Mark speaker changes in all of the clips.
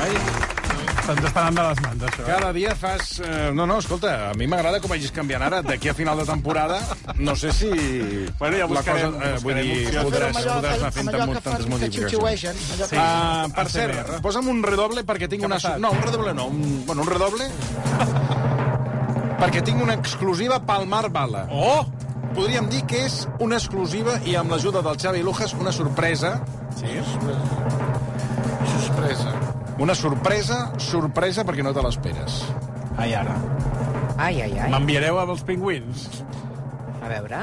Speaker 1: Ai,
Speaker 2: Se'ns està anant de les mans, això.
Speaker 1: cada dia fas... eh, No, no, escolta, a mi m'agrada com vagis canviant ara. D'aquí a final de temporada, no sé si...
Speaker 2: Bueno, ja buscarem-
Speaker 1: cosa, eh, vull
Speaker 2: buscarem
Speaker 1: dir,
Speaker 2: opcions.
Speaker 1: podràs,
Speaker 3: Allò que-
Speaker 1: podràs anar fent
Speaker 3: allò
Speaker 1: tant,
Speaker 3: que
Speaker 1: tantes
Speaker 3: fan que
Speaker 1: modificacions.
Speaker 3: xiuxiuegen, allò que-
Speaker 1: Ah, per
Speaker 2: ASMR.
Speaker 1: cert, posa'm un redoble perquè tinc una...
Speaker 2: passat?
Speaker 1: No, un redoble no, un, bueno, un redoble... perquè tinc una exclusiva pel Marc Bala.
Speaker 2: Oh!
Speaker 1: Podríem dir que és una exclusiva i amb l'ajuda del Xavi Lujas una sorpresa.
Speaker 2: Sí?
Speaker 3: Sorpresa.
Speaker 1: Una sorpresa, sorpresa, perquè no te l'esperes.
Speaker 2: Ai, ara.
Speaker 3: Ai, ai, ai.
Speaker 2: M'enviareu als pingüins?
Speaker 3: A veure.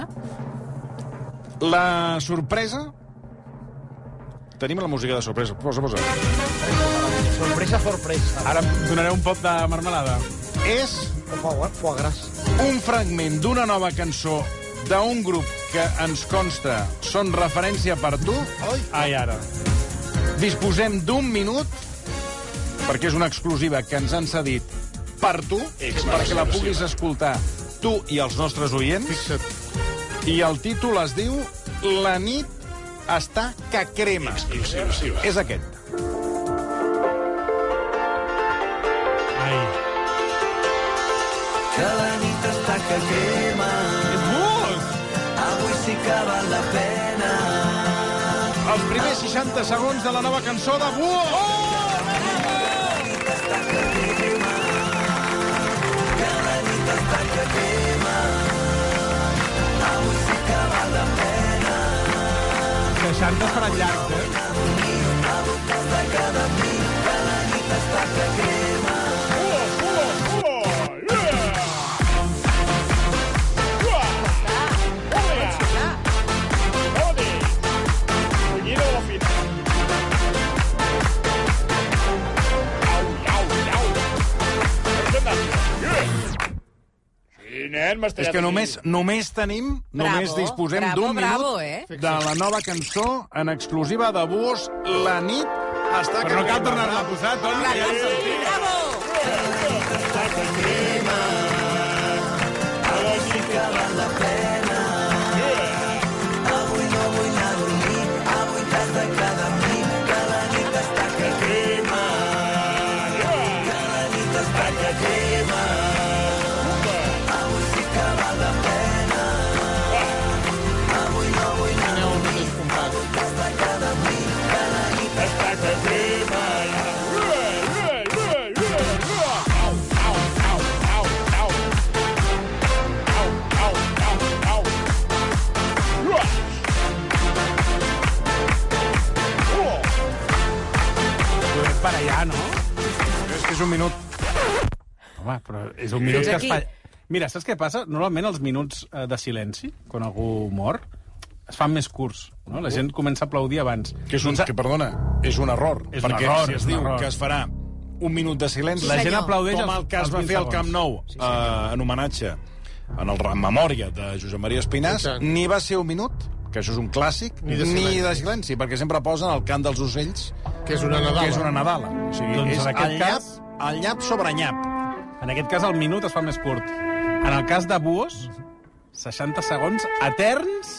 Speaker 1: La sorpresa... Tenim la música de sorpresa. Posa, posa.
Speaker 3: Sorpresa, sorpresa.
Speaker 2: Ara em donareu un pot de marmelada.
Speaker 1: És
Speaker 3: Foie, foie gras.
Speaker 1: un fragment d'una nova cançó d'un grup que ens consta són referència per tu.
Speaker 2: Ai, ara.
Speaker 1: Disposem d'un minut, perquè és una exclusiva que ens han cedit per tu, perquè la puguis escoltar tu i els nostres oients. I el títol es diu La nit està que crema. És aquest.
Speaker 2: Ai.
Speaker 4: Que la nit està que crema,
Speaker 2: És molt!
Speaker 4: avui sí que val la pena.
Speaker 1: Els primers 60 segons de la nova cançó de Buo. Oh!
Speaker 2: Deixant de seran llargs, eh?
Speaker 1: És que només, només tenim, només disposem
Speaker 5: bravo,
Speaker 1: d'un minut
Speaker 5: bravo, eh?
Speaker 1: de la nova cançó en exclusiva de Buos, La nit està
Speaker 2: Però no cal tornar-la a posar, Toni. Ja, ja, ja.
Speaker 5: Bravo!
Speaker 2: Podem barallar, no? eh?
Speaker 1: És que és un minut.
Speaker 2: Home, però és un minut
Speaker 5: Fins
Speaker 2: que es
Speaker 5: aquí.
Speaker 2: fa... Mira, saps què passa? Normalment els minuts eh, de silenci, quan algú mor, es fan més curts. No? La gent comença a aplaudir abans.
Speaker 1: Que és un,
Speaker 2: Doncs,
Speaker 1: que, perdona, és un error.
Speaker 2: És un
Speaker 1: perquè
Speaker 2: error,
Speaker 1: si
Speaker 2: és
Speaker 1: es
Speaker 2: un
Speaker 1: diu
Speaker 2: error.
Speaker 1: que es farà un minut de silenci...
Speaker 2: La gent
Speaker 5: senyor.
Speaker 2: aplaudeix
Speaker 1: com el que es va
Speaker 2: 20
Speaker 1: fer al Camp
Speaker 2: segons.
Speaker 1: Nou eh, en homenatge en el en memòria de Josep Maria Espinàs, ni va ser un minut, que això és un clàssic, ni de silenci, perquè sempre posen el cant dels ocells,
Speaker 6: Que és una
Speaker 1: que
Speaker 6: Nadala.
Speaker 1: és una Nadala. O sigui,
Speaker 2: Doncs en
Speaker 1: és
Speaker 2: aquest
Speaker 1: el
Speaker 2: cas-
Speaker 1: llap, el llap sobre nyap.
Speaker 2: En aquest cas, el minut es fa més curt. En el cas de Buos, 60 segons eterns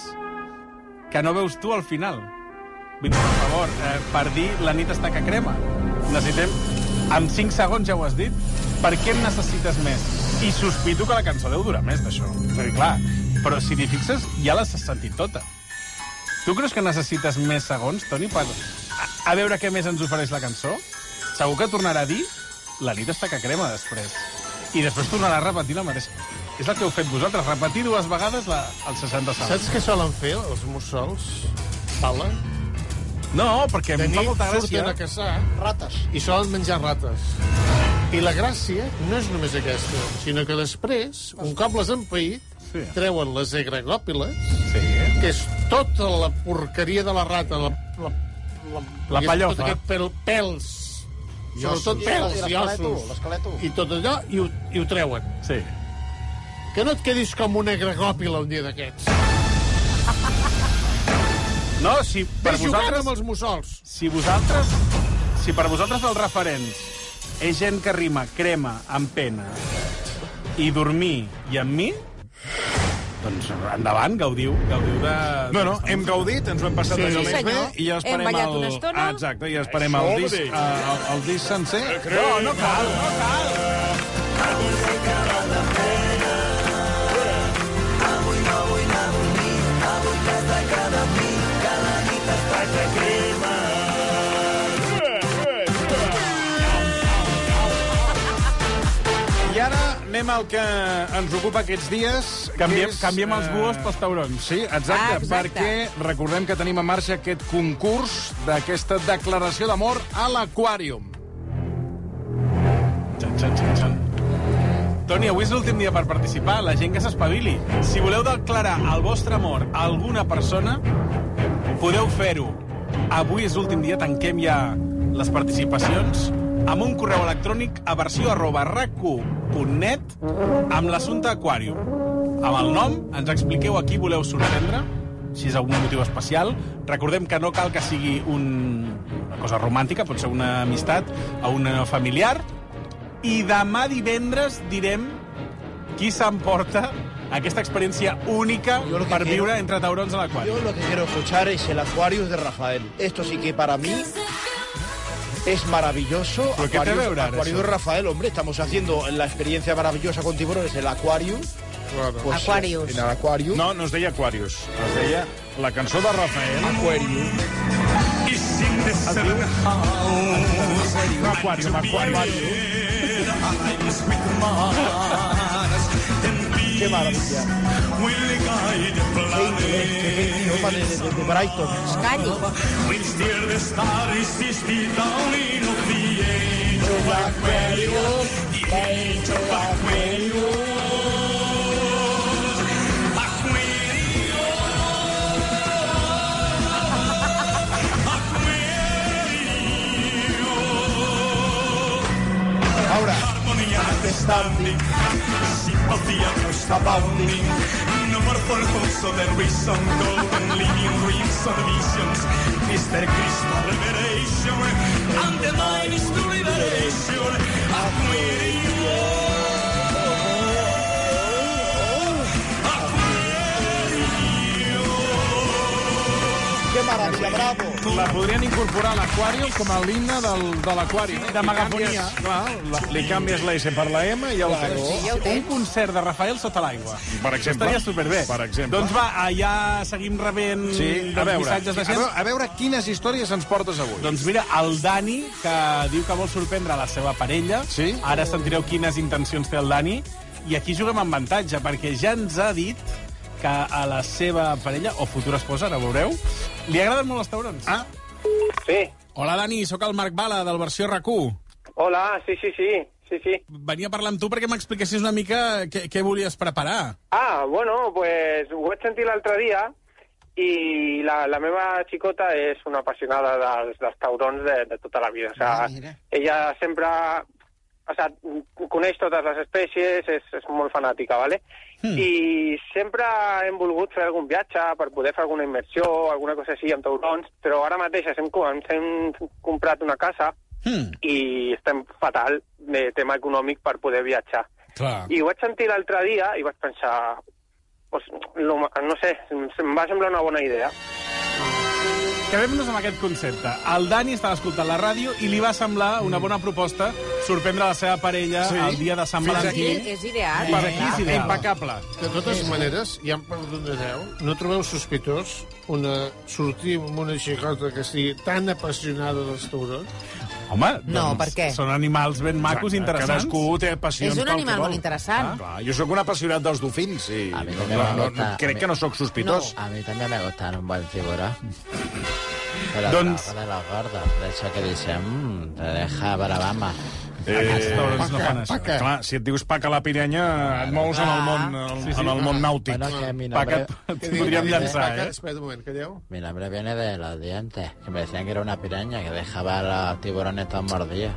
Speaker 2: que no veus tu al final. Vinc, per favor, eh, per dir la nit està que crema. Necessitem... Amb 5 segons ja ho has dit. Per què en necessites més? I sospito que la cançó deu durar més d'això. És a dir, clar, però si t'hi fixes, ja l'has sentit tota. Tu creus que necessites més segons, Toni, per a, a veure què més ens ofereix la cançó? Segur que tornarà a dir la nit està que crema després. I després tornarà a repetir la mateixa. És el que heu fet vosaltres, repetir dues vegades la, els 60 segons.
Speaker 6: Saps què solen fer els mussols? Pala.
Speaker 2: No, perquè
Speaker 6: De
Speaker 2: em fa
Speaker 6: nit
Speaker 2: molta gràcia.
Speaker 6: surten a caçar
Speaker 3: Rates.
Speaker 6: i solen menjar rates. I la gràcia no és només aquesta, sinó que després, un cop les han paït,
Speaker 2: Sí.
Speaker 6: treuen les egregòpiles
Speaker 2: Sí, eh?
Speaker 6: que és tota la porqueria de la rata, la, la, la,
Speaker 2: La pallofa.
Speaker 6: Tot aquest pel, pèls, sobretot pèls i ossos,
Speaker 3: l'esqueleto.
Speaker 6: i tot allò, i ho, i ho treuen.
Speaker 2: Sí.
Speaker 6: Que no et quedis com una gregòpila un dia d'aquests.
Speaker 2: No, si per
Speaker 6: Ves jugant
Speaker 2: vosaltres...
Speaker 6: amb els mussols.
Speaker 2: Si vosaltres... Si per vosaltres els referents és gent que rima crema amb pena i dormir i amb mi, doncs endavant, gaudiu, gaudiu de...
Speaker 1: No, no, hem gaudit, ens ho hem passat
Speaker 6: Sí,
Speaker 1: sí, allò
Speaker 6: sí,
Speaker 1: més bé
Speaker 5: senyor.
Speaker 1: i ja esperem
Speaker 5: Hem ballat
Speaker 1: el...
Speaker 5: una estona. Eh,
Speaker 1: Ah, exacte, ja esperem el
Speaker 6: Això
Speaker 1: disc,
Speaker 6: mateix.
Speaker 1: eh, el, el disc sencer. No, no cal, no cal. I ara anem al que ens ocupa aquests dies. que
Speaker 2: Canviem,
Speaker 1: és,
Speaker 2: canviem els
Speaker 1: eh,
Speaker 2: buos pels taurons.
Speaker 1: Sí, exacte,
Speaker 5: Ah,
Speaker 1: ah,
Speaker 5: exacte.
Speaker 1: exacte, perquè recordem que tenim en marxa aquest concurs d'aquesta declaració d'amor a l'Aquàrium.
Speaker 2: Xan, xan, xan, xan. Toni, avui és l'últim dia per participar. La gent que s'espavili. Si voleu declarar el vostre amor a alguna persona, podeu fer-ho. Avui és l'últim dia, tanquem ja les participacions amb un correu electrònic a versió arroba racu.net amb l'assumpte Aquarium. Amb el nom ens expliqueu a qui voleu sorprendre, si és algun motiu especial. Recordem que no cal que sigui un, una cosa romàntica, pot ser una amistat o una familiar, i demà divendres direm qui s'emporta aquesta experiència única
Speaker 3: Jo lo que
Speaker 2: per
Speaker 3: quiero-
Speaker 2: viure entre taurons a l'aquari.
Speaker 3: Yo lo que quiero escuchar es el Aquarius de Rafael. Esto sí que para mí es maravilloso.
Speaker 2: ¿Pero qué te
Speaker 3: Aquarius-
Speaker 2: veo hablar
Speaker 3: Aquarius
Speaker 2: eso?
Speaker 3: de Rafael, hombre, estamos haciendo la experiencia maravillosa con tiburones, el Aquarius. Pues,
Speaker 5: Aquarius.
Speaker 3: En el Aquarius.
Speaker 1: No, no es deia Aquarius, es deia la cançó de Rafael. Aquarius. Aquarium, Aquarium.
Speaker 3: Qué maravilla. Qué inglés, qué qué idioma de, de- de Brighton.
Speaker 5: Calli.
Speaker 3: Ahora, es tarde. Está Bounding.
Speaker 7: No more for hopes of the reason, golden living dreams and visions. Mr. Crystal Liberation, and the mind is to liberation. Aquarius.
Speaker 3: Qué maravilla, bravo.
Speaker 1: La podrien incorporar a l'Aquarium com a l'himne del- de l'Aquarium.
Speaker 2: de megafonia.
Speaker 1: Li canvies- Clar, la- li canvies la S per la M i ja ho tens.
Speaker 5: Ja ho
Speaker 2: Un
Speaker 5: tens.
Speaker 2: concert de Rafael sota l'aigua.
Speaker 1: Per exemple.
Speaker 2: Estaria superbé.
Speaker 1: Per exemple.
Speaker 2: Doncs va, allà seguim rebent
Speaker 1: Sí, a
Speaker 2: doncs,
Speaker 1: veure,
Speaker 2: missatges de
Speaker 1: a
Speaker 2: gent.
Speaker 1: veure, a veure quines històries ens portes avui.
Speaker 2: Doncs mira, el Dani, que diu que vol sorprendre la seva parella.
Speaker 1: Sí?
Speaker 2: Ara sentireu quines intencions té el Dani. I aquí juguem amb avantatge, perquè ja ens ha dit que a la seva parella, o futura esposa, ara ho veureu, li agraden molt els taurons.
Speaker 1: Ah,
Speaker 8: Sí.
Speaker 2: Hola, Dani, sóc el Marc Bala, del versió RAC1.
Speaker 8: Hola, sí, sí, sí, sí, sí.
Speaker 2: Venia a parlar amb tu perquè m'expliquessis una mica què, què volies preparar.
Speaker 8: Ah, bueno, pues ho vaig sentir l'altre dia i la, la meva xicota és una apassionada dels, dels taurons de, de tota la vida. O
Speaker 3: Ah,
Speaker 8: sea,
Speaker 3: mira.
Speaker 8: ella sempre... O sea, coneix totes les espècies, és, és molt fanàtica, ¿vale? Hmm. I sempre hem volgut fer algun viatge per poder fer alguna immersió, alguna cosa així amb taurons, però ara mateix ens hem, co- ens hem comprat una casa
Speaker 2: Hmm,
Speaker 8: i estem fatal de tema econòmic per poder viatjar.
Speaker 2: clar.
Speaker 8: I ho vaig sentir l'altre dia i vaig pensar... Pues, lo, ma- no sé, em em va semblar una bona idea.
Speaker 2: Quedem-nos amb aquest concepte. El Dani estava escoltant la ràdio i li va semblar una bona proposta sorprendre la seva parella sí.
Speaker 1: Sí.
Speaker 2: el dia de Sant
Speaker 1: Fins
Speaker 5: Sí,
Speaker 2: Valentí.
Speaker 5: és ideal.
Speaker 2: Per aquí és ideal.
Speaker 1: impecable.
Speaker 6: De totes maneres, ja em perdonareu, no trobeu sospitós una, sortir amb una xicota que estigui tan apassionada dels taurons?
Speaker 2: Home,
Speaker 5: No, per què?
Speaker 2: Són animals ben macos i interessants.
Speaker 1: Cadascú té passions
Speaker 5: És un
Speaker 1: pel que
Speaker 5: animal
Speaker 1: vol.
Speaker 5: molt interessant.
Speaker 1: Ah, Clar, jo sóc un apassionat dels dofins i
Speaker 3: A mi
Speaker 1: no,
Speaker 3: també
Speaker 1: no, no,
Speaker 3: m'agrada.
Speaker 1: crec que no sóc sospitós.
Speaker 3: A mí también me gustaron un buen tiburón. Pero
Speaker 2: Doncs-
Speaker 5: "Mm,
Speaker 3: de los gordos, de eso que dicen, mmm, te deja brava.
Speaker 2: Castors no fan això.
Speaker 1: Clar, si et dius Eh, paca a la pirenya, et mous en el món, en,
Speaker 2: Sí, sí.
Speaker 1: en el món nàutic.
Speaker 5: Bueno, que mi
Speaker 1: paca,
Speaker 5: nombre-
Speaker 1: et podríem llançar, eh?
Speaker 6: Espera un moment, calleu.
Speaker 5: Mi nombre viene de los dientes, que me decían que era una piraña que dejaba a los tiburones tan mordidos.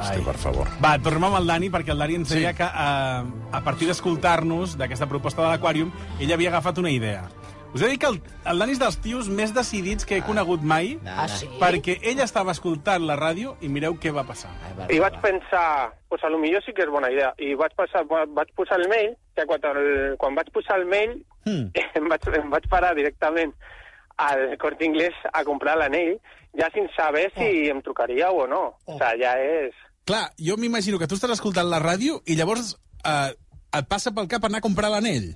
Speaker 1: Hosti, per favor.
Speaker 2: Va, tornem amb el Dani, perquè el Dani ens deia que eh, a partir d'escoltar-nos d'aquesta proposta de l'Aquarium, ell havia agafat una idea. Us he de dir que el, el Dani és dels tios més decidits que he conegut mai,
Speaker 5: Ah, sí?
Speaker 2: perquè ell estava escoltant la ràdio i mireu què va passar.
Speaker 8: I vaig pensar, pues, a lo millor sí que és bona idea. I vaig, passar, va- vaig posar el mail, que quan, el, quan vaig posar el mail
Speaker 2: Hmm.
Speaker 8: em, vaig, em vaig parar directament al Corte Inglés a comprar l'anell, ja sin saber si em trucaríeu o no. O sea, ja és...
Speaker 2: Clar, jo m'imagino que tu estàs escoltant la ràdio i llavors eh, et passa pel cap anar a comprar l'anell.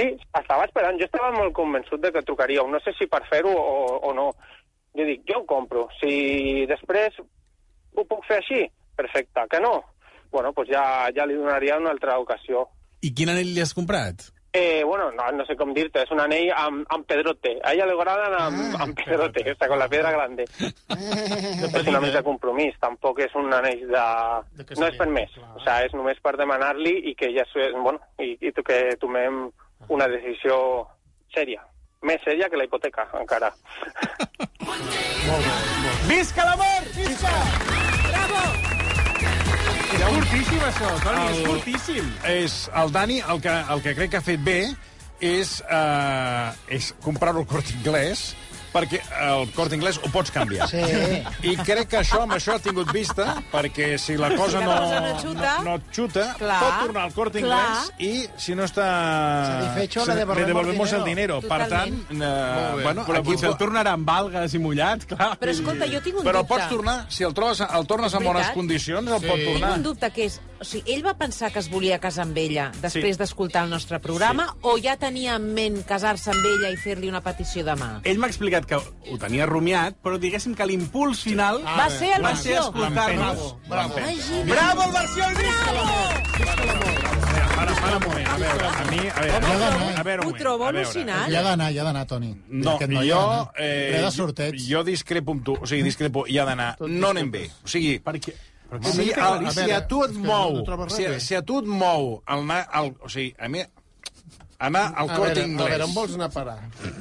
Speaker 8: Sí, estava esperant. Jo estava molt convençut de que trucaríeu. No sé si per fer-ho o, o no. Jo dic, jo ho compro. Si després ho puc fer així, perfecte. Que no? Bueno, doncs ja, ja li donaria una altra ocasió.
Speaker 2: I quin anell li has comprat?
Speaker 8: Eh, bueno, no, no sé com dir-te, és un anell amb, amb pedrote. A ella li agraden amb, amb pedrote, o sea, con la pedra grande. No és un anell de compromís, tampoc és un anell de... no és per més, o sea, és només per demanar-li i que ja és, bueno, i, i to- que tomem una decisió sèria. Més sèria que la hipoteca, encara.
Speaker 2: Visca l'amor! Visca! Bravo! És fortíssim, això, Toni, és fortíssim.
Speaker 1: És el Dani, el que, el que crec que ha fet bé és, eh, és comprar-ho al Corte Inglés, perquè el Corte Inglés ho pots canviar.
Speaker 5: Sí.
Speaker 1: I crec que això amb això ha tingut vista, perquè si la cosa,
Speaker 9: Si la cosa no xuta,
Speaker 1: no, no et xuta
Speaker 9: clar,
Speaker 1: pot tornar al Corte
Speaker 9: clar.
Speaker 1: Inglés i si no està...
Speaker 5: Satisfecho,
Speaker 1: se-
Speaker 5: le devolvemos
Speaker 1: el
Speaker 5: dinero.
Speaker 1: dinero. Per tant,
Speaker 9: Totalment.
Speaker 1: eh, bueno,
Speaker 2: Però
Speaker 1: aquí
Speaker 2: potser el tornarà amb algues i mullat, clar.
Speaker 9: Però escolta, jo tinc un
Speaker 1: Però
Speaker 9: dubte.
Speaker 1: pots tornar, si el trobes, el tornes en
Speaker 9: Veritat?
Speaker 1: bones condicions, el pot
Speaker 9: Tinc
Speaker 1: tornar.
Speaker 9: un dubte, que és... O sigui, ell va pensar que es volia casar amb ella després
Speaker 2: Sí.
Speaker 9: d'escoltar el nostre programa o ja tenia en ment casar-se amb ella i fer-li una petició de mà?
Speaker 2: Ell m'ha explicat que ho tenia rumiat, però diguéssim que l'impuls final
Speaker 9: Ah, Va bé, ser el
Speaker 2: va
Speaker 9: Marció.
Speaker 2: ser escoltar-nos.
Speaker 6: Bravo, bravo.
Speaker 2: Bravo, el versió!
Speaker 1: Para, para un moment, a veure, a mi...
Speaker 9: Home,
Speaker 1: A veure, a veure,
Speaker 9: ho
Speaker 1: a veure, un moment,
Speaker 9: trobo
Speaker 1: a veure.
Speaker 10: Ja
Speaker 9: al·lucinant.
Speaker 10: doncs, ha d'anar, ja ha d'anar, Toni.
Speaker 1: No,
Speaker 10: Aquest
Speaker 1: no
Speaker 10: noi
Speaker 1: jo...
Speaker 10: ha d'anar. Ple de
Speaker 1: jo,
Speaker 10: sorteig.
Speaker 1: jo discrepo amb tu. O sigui, discrepo, hi ha d'anar. No anem bé. O sigui,
Speaker 2: Perquè... perquè no
Speaker 1: si, el,
Speaker 2: té
Speaker 1: si a tu
Speaker 6: és
Speaker 1: et
Speaker 6: que no-
Speaker 1: mou...
Speaker 6: no trobes res
Speaker 1: Si,
Speaker 6: bé.
Speaker 1: si a tu et mou... El, na- el, o sigui, a mi... Anar al
Speaker 6: A
Speaker 1: Corte
Speaker 6: veure, a
Speaker 1: Inglés,
Speaker 6: veure, on vols anar a parar?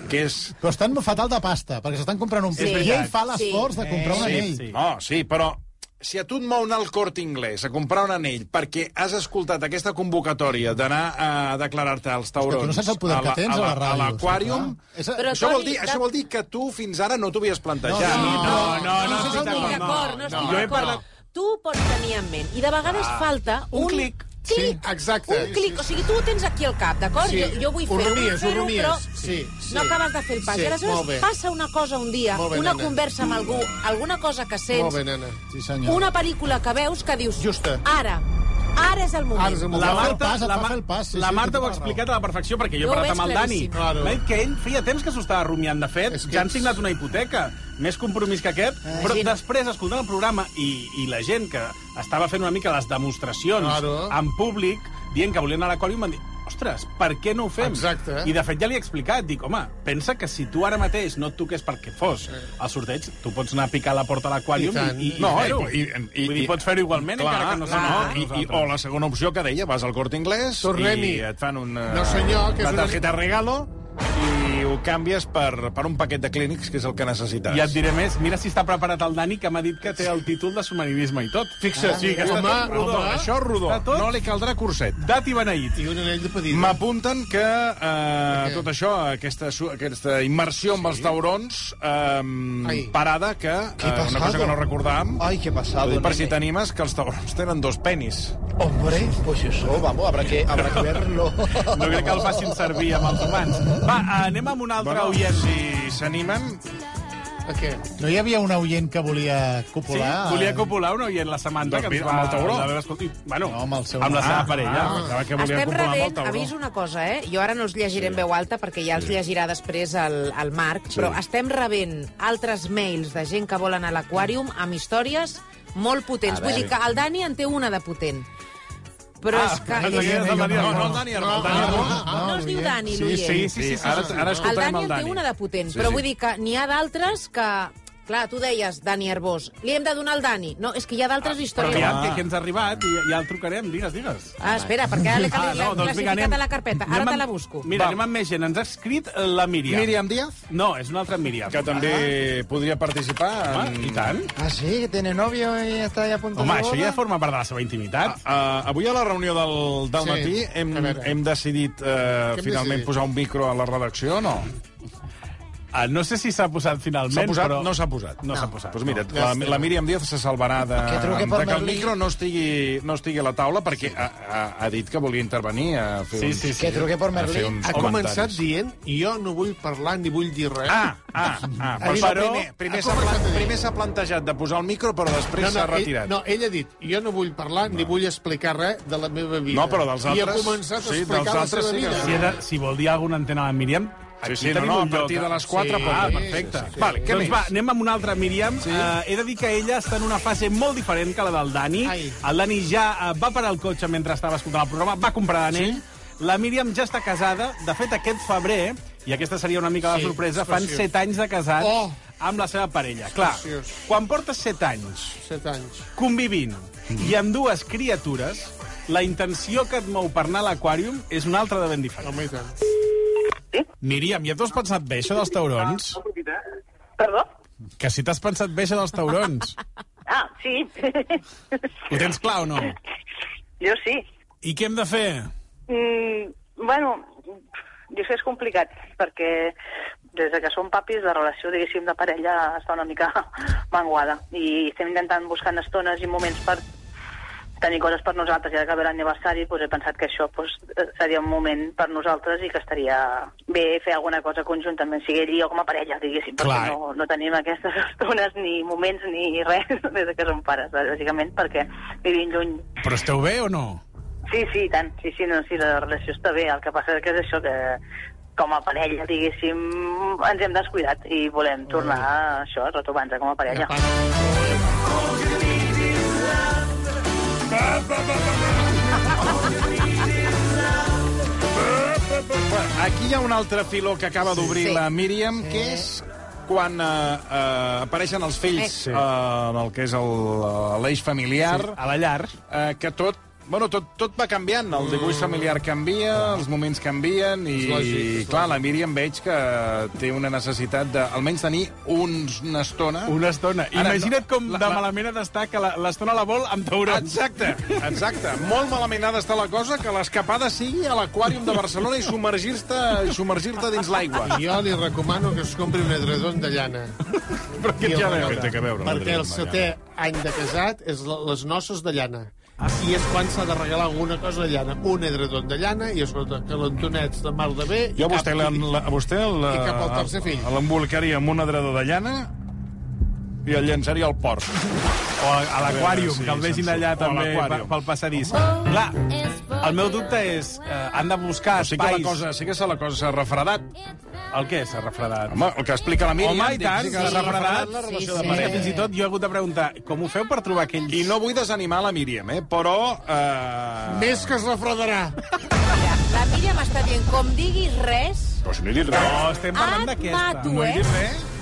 Speaker 1: que és...
Speaker 10: Però estan fatal de pasta, perquè s'estan comprant un
Speaker 9: Sí.
Speaker 10: pis. I ell fa
Speaker 9: Sí.
Speaker 10: l'esforç de comprar un
Speaker 1: sí,
Speaker 10: anell.
Speaker 1: Sí. No, sí, però si a tu et mou anar al Corte Inglés a comprar un anell perquè has escoltat aquesta convocatòria d'anar a declarar-te als taurons...
Speaker 10: Que tu no saps el poder
Speaker 1: a la-
Speaker 10: que tens a la ràdio.
Speaker 1: A l'Aquàrium...
Speaker 10: És,
Speaker 9: Però,
Speaker 1: Això vol,
Speaker 9: Toni,
Speaker 1: dir,
Speaker 9: de-
Speaker 1: això vol dir que tu fins ara no t'ho havies plantejat.
Speaker 2: No, no, no,
Speaker 9: No, no,
Speaker 2: no, no,
Speaker 9: estic d'acord, no
Speaker 2: no,
Speaker 9: estic
Speaker 2: jo he
Speaker 9: d'acord.
Speaker 2: parlat...
Speaker 9: Tu ho pots tenir en ment. I de vegades falta un...
Speaker 2: un clic.
Speaker 9: Clic.
Speaker 6: Ah, Sí, exacte.
Speaker 9: Un clic. O sigui, tu ho tens aquí al cap, d'acord?
Speaker 6: Sí.
Speaker 9: Jo, jo vull
Speaker 6: Ho
Speaker 9: fer-ho,
Speaker 6: rumies, ho
Speaker 9: vull fer-ho,
Speaker 6: rumies.
Speaker 9: però
Speaker 6: Sí, sí.
Speaker 9: no acabes de fer el pas.
Speaker 6: Sí,
Speaker 9: I
Speaker 6: molt bé.
Speaker 9: aleshores passa una cosa un dia,
Speaker 6: Molt bé,
Speaker 9: una
Speaker 6: nena.
Speaker 9: conversa amb algú, alguna cosa que
Speaker 6: Molt
Speaker 9: sents,
Speaker 6: bé, nena.
Speaker 10: Sí, senyor.
Speaker 9: una pel·lícula que veus que dius...
Speaker 6: Justa.
Speaker 9: Ara, ara és el
Speaker 6: Ara és
Speaker 9: moment.
Speaker 6: el moment.
Speaker 2: La
Speaker 10: fa el
Speaker 2: Marta,
Speaker 10: pas, et
Speaker 2: la,
Speaker 10: fa
Speaker 2: Mar-
Speaker 10: fer el pas, sí,
Speaker 2: la
Speaker 10: sí,
Speaker 2: Marta
Speaker 10: tota
Speaker 2: ho ha
Speaker 10: la raó.
Speaker 2: explicat a la perffecció, perquè
Speaker 9: Jo
Speaker 2: jo he
Speaker 9: ho
Speaker 2: parlat
Speaker 9: veig
Speaker 2: amb el Dani.
Speaker 9: claríssim.
Speaker 6: Claro.
Speaker 2: M'ha dit que ell feia temps que s'ho estava rumiant. De fet,
Speaker 6: És que
Speaker 2: ja han
Speaker 6: ets-
Speaker 2: signat una hipoteca, més compromís que aquest, però després, escoltant el programa i, i la gent que estava fent una mica les demostracions
Speaker 6: Claro.
Speaker 2: en públic, dient que volien anar a l'Aquarium, van dir ostres, per què no ho fem?
Speaker 6: Exacte.
Speaker 2: I de fet ja li he explicat, dic, home, pensa que si tu ara mateix no et toques pel que fos al sorteig, tu pots anar a picar a la porta a
Speaker 6: I
Speaker 2: l'Aquarium i,
Speaker 6: tant.
Speaker 2: i, i,
Speaker 1: No,
Speaker 2: fer-ho.
Speaker 1: i, i,
Speaker 2: Vull dir, pots fer-ho igualment, encara que no
Speaker 1: clar,
Speaker 2: s'ha
Speaker 1: no, i, i, O la segona opció que deia, vas al Corte Inglés
Speaker 6: Tornem-hi.
Speaker 1: i et fan una,
Speaker 6: No, senyor, que és
Speaker 1: una
Speaker 6: una-
Speaker 1: targeta regalo i ho canvies per, per un paquet de clínics, que és el que necessites.
Speaker 2: I et diré més, mira si està preparat el Dani, que m'ha dit que té el títol de submarinisme i tot. Fixa't, ah, sí, que està
Speaker 6: home,
Speaker 2: tot rodó.
Speaker 6: home.
Speaker 2: Això rodó.
Speaker 1: Rodó,
Speaker 2: Està tot
Speaker 1: no li caldrà curset.
Speaker 2: dat i beneït.
Speaker 6: I un anell de pedido.
Speaker 1: M'apunten que eh,
Speaker 6: què?
Speaker 1: tot això, aquesta, su- aquesta immersió amb els taurons, eh,
Speaker 6: Ai.
Speaker 1: parada, que eh, una cosa
Speaker 3: pasado.
Speaker 1: que no recordàvem,
Speaker 3: Ay, qué pasado.
Speaker 1: per si
Speaker 3: nene.
Speaker 1: t'animes, que els taurons tenen dos penis.
Speaker 3: Hombre, pues eso, vamos, habrá que, habrá que verlo.
Speaker 2: No crec que el facin servir amb els humans. Va, anem amb un altre
Speaker 1: Bueno,
Speaker 2: oient.
Speaker 1: si s'animen,
Speaker 6: A què?
Speaker 10: No hi havia un oient que volia
Speaker 2: Sí,
Speaker 10: copular?
Speaker 2: volia copular un oient la Samantha, que
Speaker 1: Doncs
Speaker 2: ens
Speaker 1: mira,
Speaker 2: va...
Speaker 1: amb el tauró.
Speaker 2: la vam escoltar i, bueno,
Speaker 10: No, amb el seu
Speaker 2: amb la
Speaker 10: nom.
Speaker 2: seva
Speaker 10: Ah,
Speaker 2: parella.
Speaker 1: pensava que volia
Speaker 9: Estem
Speaker 1: copular amb el
Speaker 9: rebent,
Speaker 1: tauró.
Speaker 9: avís una cosa, eh? Jo ara no els llegiré en veu alta perquè ja els llegirà després el, el Marc, però estem rebent altres mails de gent que volen a l'Aquàrium amb històries molt potents.
Speaker 5: A
Speaker 9: Vull dir
Speaker 5: veure.
Speaker 9: que el Dani en té una de potent. Però és que...
Speaker 2: Ah, no,
Speaker 9: és... Ah,
Speaker 2: no, no, no, el Dani,
Speaker 6: No,
Speaker 2: el Ah, Dani.
Speaker 6: no,
Speaker 10: ah,
Speaker 2: Arbós.
Speaker 9: No, no es diu
Speaker 10: l'oient.
Speaker 9: Dani,
Speaker 10: Sí,
Speaker 9: l'oient.
Speaker 2: Sí, sí, sí, sí,
Speaker 1: Ara,
Speaker 2: sí, sí.
Speaker 1: ara
Speaker 9: El
Speaker 1: escoltarem
Speaker 9: Dani
Speaker 1: el
Speaker 9: en té
Speaker 1: Dani.
Speaker 9: una de potent,
Speaker 1: Sí,
Speaker 9: però
Speaker 1: sí.
Speaker 9: vull dir que n'hi ha d'altres que Clar, tu deies, Dani Herbós, li hem de donar al Dani. No, és que hi ha d'altres
Speaker 2: Ah, Però
Speaker 9: històries.
Speaker 2: aviam, que, que ens ha arribat i ja el trucarem. Digues, digues.
Speaker 9: Ah, espera, perquè ara l'he no,
Speaker 2: Ah, doncs vinga,
Speaker 9: classificat
Speaker 2: anem.
Speaker 9: a la carpeta. Ara
Speaker 2: Anem
Speaker 9: te
Speaker 2: amb-
Speaker 9: la busco.
Speaker 2: Mira, anem amb més gent. Ens ha escrit la Míriam.
Speaker 11: Míriam Díaz?
Speaker 2: No, és una altra Míriam.
Speaker 1: Que també podria participar.
Speaker 2: En... Home, i tant.
Speaker 11: Ah, sí, que tiene novio y está ahí a punto
Speaker 2: Home,
Speaker 11: de
Speaker 2: això
Speaker 11: boda.
Speaker 2: ja forma part de la seva intimitat.
Speaker 1: Uh, avui a la reunió del, del
Speaker 2: Sí,
Speaker 1: sí, matí hem,
Speaker 2: a veure.
Speaker 1: hem decidit
Speaker 2: hem
Speaker 1: uh, finalment
Speaker 2: decidit?
Speaker 1: posar un micro a la redacció o no?
Speaker 2: Ah, no sé si s'ha posat finalment,
Speaker 1: S'ha posat?
Speaker 2: però...
Speaker 1: No s'ha posat.
Speaker 2: No, s'ha posat.
Speaker 1: Doncs mira,
Speaker 2: no.
Speaker 1: la, la Míriam Díaz se salvarà de,
Speaker 2: Que
Speaker 1: de
Speaker 2: truqui pel
Speaker 1: que el
Speaker 2: Merlí.
Speaker 1: micro no estigui, no estigui a la taula perquè ha, ha, ha dit que volia intervenir a fer
Speaker 2: Sí,
Speaker 1: uns,
Speaker 2: sí, sí. Que truqui per
Speaker 1: a
Speaker 2: Merlí.
Speaker 1: fer uns
Speaker 6: Ha
Speaker 1: comentaris.
Speaker 6: començat dient jo no vull parlar ni vull dir res.
Speaker 1: Ah, ah, ah.
Speaker 6: Ha dit
Speaker 1: Però,
Speaker 6: el
Speaker 1: primer, primer
Speaker 6: ha
Speaker 1: s'ha
Speaker 6: començat
Speaker 1: pla-
Speaker 6: a dir.
Speaker 1: primer s'ha plantejat de posar el micro, però després s'ha retirat.
Speaker 6: Ell, no, ell ha dit, jo no vull parlar no. ni vull explicar res de la meva vida.
Speaker 1: No, però dels
Speaker 6: I ha
Speaker 1: altres,
Speaker 6: començat
Speaker 1: sí,
Speaker 6: a
Speaker 1: dels
Speaker 6: explicar la
Speaker 1: altres
Speaker 6: seva
Speaker 1: sí que
Speaker 6: vida.
Speaker 2: Si, he de, si vol dir alguna antena a la Míriam...
Speaker 1: Sí,
Speaker 2: aquí
Speaker 1: sí, no,
Speaker 2: tenim
Speaker 1: no,
Speaker 2: un
Speaker 1: a partir
Speaker 2: lloc,
Speaker 1: de les quatre,
Speaker 2: Sí,
Speaker 1: pot
Speaker 2: ah,
Speaker 1: dir.
Speaker 2: perfecte.
Speaker 1: Sí, sí, sí. Vale, què
Speaker 2: doncs
Speaker 1: més?
Speaker 2: va, anem amb una altra Míriam. Sí. Uh, he de dir que ella està en una fase molt diferent que la del Dani. Ai. El Dani ja uh, va parar el cotxe mentre estava escoltant el programa, va comprar d'anell. Sí? La Míriam ja està casada. De fet, aquest febrer, i aquesta seria una mica la
Speaker 6: Sí,
Speaker 2: sorpresa,
Speaker 6: és
Speaker 2: fan
Speaker 6: preciós.
Speaker 2: set anys de casats
Speaker 6: Oh!
Speaker 2: amb la seva parella. Clar,
Speaker 6: Preciós.
Speaker 2: quan portes set anys,
Speaker 6: Set anys.
Speaker 2: convivint i amb dues criatures, la intenció que et mou per anar a l'aquàrium és una altra de ben diferent.
Speaker 6: Home, i tant.
Speaker 2: Míriam, ja t'ho has pensat bé, això dels taurons?
Speaker 12: eh?
Speaker 13: Perdó?
Speaker 2: Que si t'has pensat bé, això dels taurons.
Speaker 13: Ah, sí.
Speaker 2: Ho tens clar o no?
Speaker 13: jo sí.
Speaker 2: I què hem de fer?
Speaker 13: Mm, bueno, jo sé, és complicat, perquè des de que som papis la relació, diguéssim, de parella està una mica manguada. I estem intentant buscant estones i moments per tenir coses per nosaltres. I ara que ve l'aniversari, doncs he pensat que això doncs, eh, seria un moment per nosaltres i que estaria bé fer alguna cosa conjuntament, sigui ell i jo com a parella, diguéssim,
Speaker 2: Clar.
Speaker 13: perquè no, no tenim aquestes estones ni moments ni res des de que som pares, bàsicament, perquè vivim lluny
Speaker 2: Però esteu bé o no?
Speaker 13: Sí, sí, i tant. Sí, sí, no, sí, la relació està bé. El que passa que és això que com a parella, diguéssim, ens hem descuidat i volem tornar a això, a retrobar-nos com a parella.
Speaker 1: Bueno, Aquí hi ha un altre filó que acaba d'obrir
Speaker 14: Sí.
Speaker 1: sí. la Míriam, sí. que és quan eh, eh, apareixen els fills
Speaker 14: Sí.
Speaker 1: eh, en el que és el- l'eix familiar.
Speaker 2: Sí, a la llar.
Speaker 1: Eh, que tot, bueno, tot, tot va canviant. El dibuix familiar canvia, els moments canvien, i,
Speaker 6: És lògic, és lògic.
Speaker 1: clar, la Míriam veig que té una necessitat de, almenys tenir uns, una estona...
Speaker 2: Una estona.
Speaker 1: Ara,
Speaker 2: Imagina't com
Speaker 1: la-
Speaker 2: de
Speaker 1: la-
Speaker 2: malament ha d'estar que la- l'estona la, vol amb taurons.
Speaker 1: Exacte, exacte. Molt malament ha d'estar la cosa que l'escapada sigui a l'aquàrium de Barcelona i submergir-te submergir dins l'aigua.
Speaker 6: I Jo li recomano que es compri un edredon de llana. Però
Speaker 1: què té a veure? Què té a veure un
Speaker 6: Perquè
Speaker 1: edredon
Speaker 6: el
Speaker 1: de
Speaker 6: setè any de casat és la- les noces de llana. I és quan s'ha de regalar alguna cosa de llana. Un edredon de llana i, escolta, que l'Antonets de mar de bé... i
Speaker 1: Jo a
Speaker 6: cap-
Speaker 1: vostè, l'en- la, a vostè el-
Speaker 6: I cap al tercer fill.
Speaker 1: l'embolicaria amb un adredor de llana i el llançaria al port.
Speaker 2: O a, a l'aquàrium, que el vegin allà
Speaker 1: O a
Speaker 2: també
Speaker 1: l'aquàrium.
Speaker 2: pe- pel passadís. Clar, el meu dubte és, eh, han de buscar
Speaker 1: O
Speaker 2: espais...
Speaker 1: sigui que la cosa, sí que se la cosa s'ha refredat.
Speaker 2: El què s'ha refredat?
Speaker 1: Home, el que explica la Míriam.
Speaker 2: Home, i tant,
Speaker 1: dic, sí que s'ha refredat la relació de
Speaker 2: És que
Speaker 1: parella.
Speaker 2: fins i tot jo he hagut de preguntar com ho feu per trobar aquells... I
Speaker 1: no vull desanimar la Míriam, eh? però... Eh...
Speaker 6: Més que es refredarà.
Speaker 9: La Míriam està dient, com diguis res,
Speaker 1: Però si no he dit doncs res.
Speaker 2: No, estem parlant
Speaker 9: et
Speaker 2: d'aquesta.
Speaker 9: mato, eh?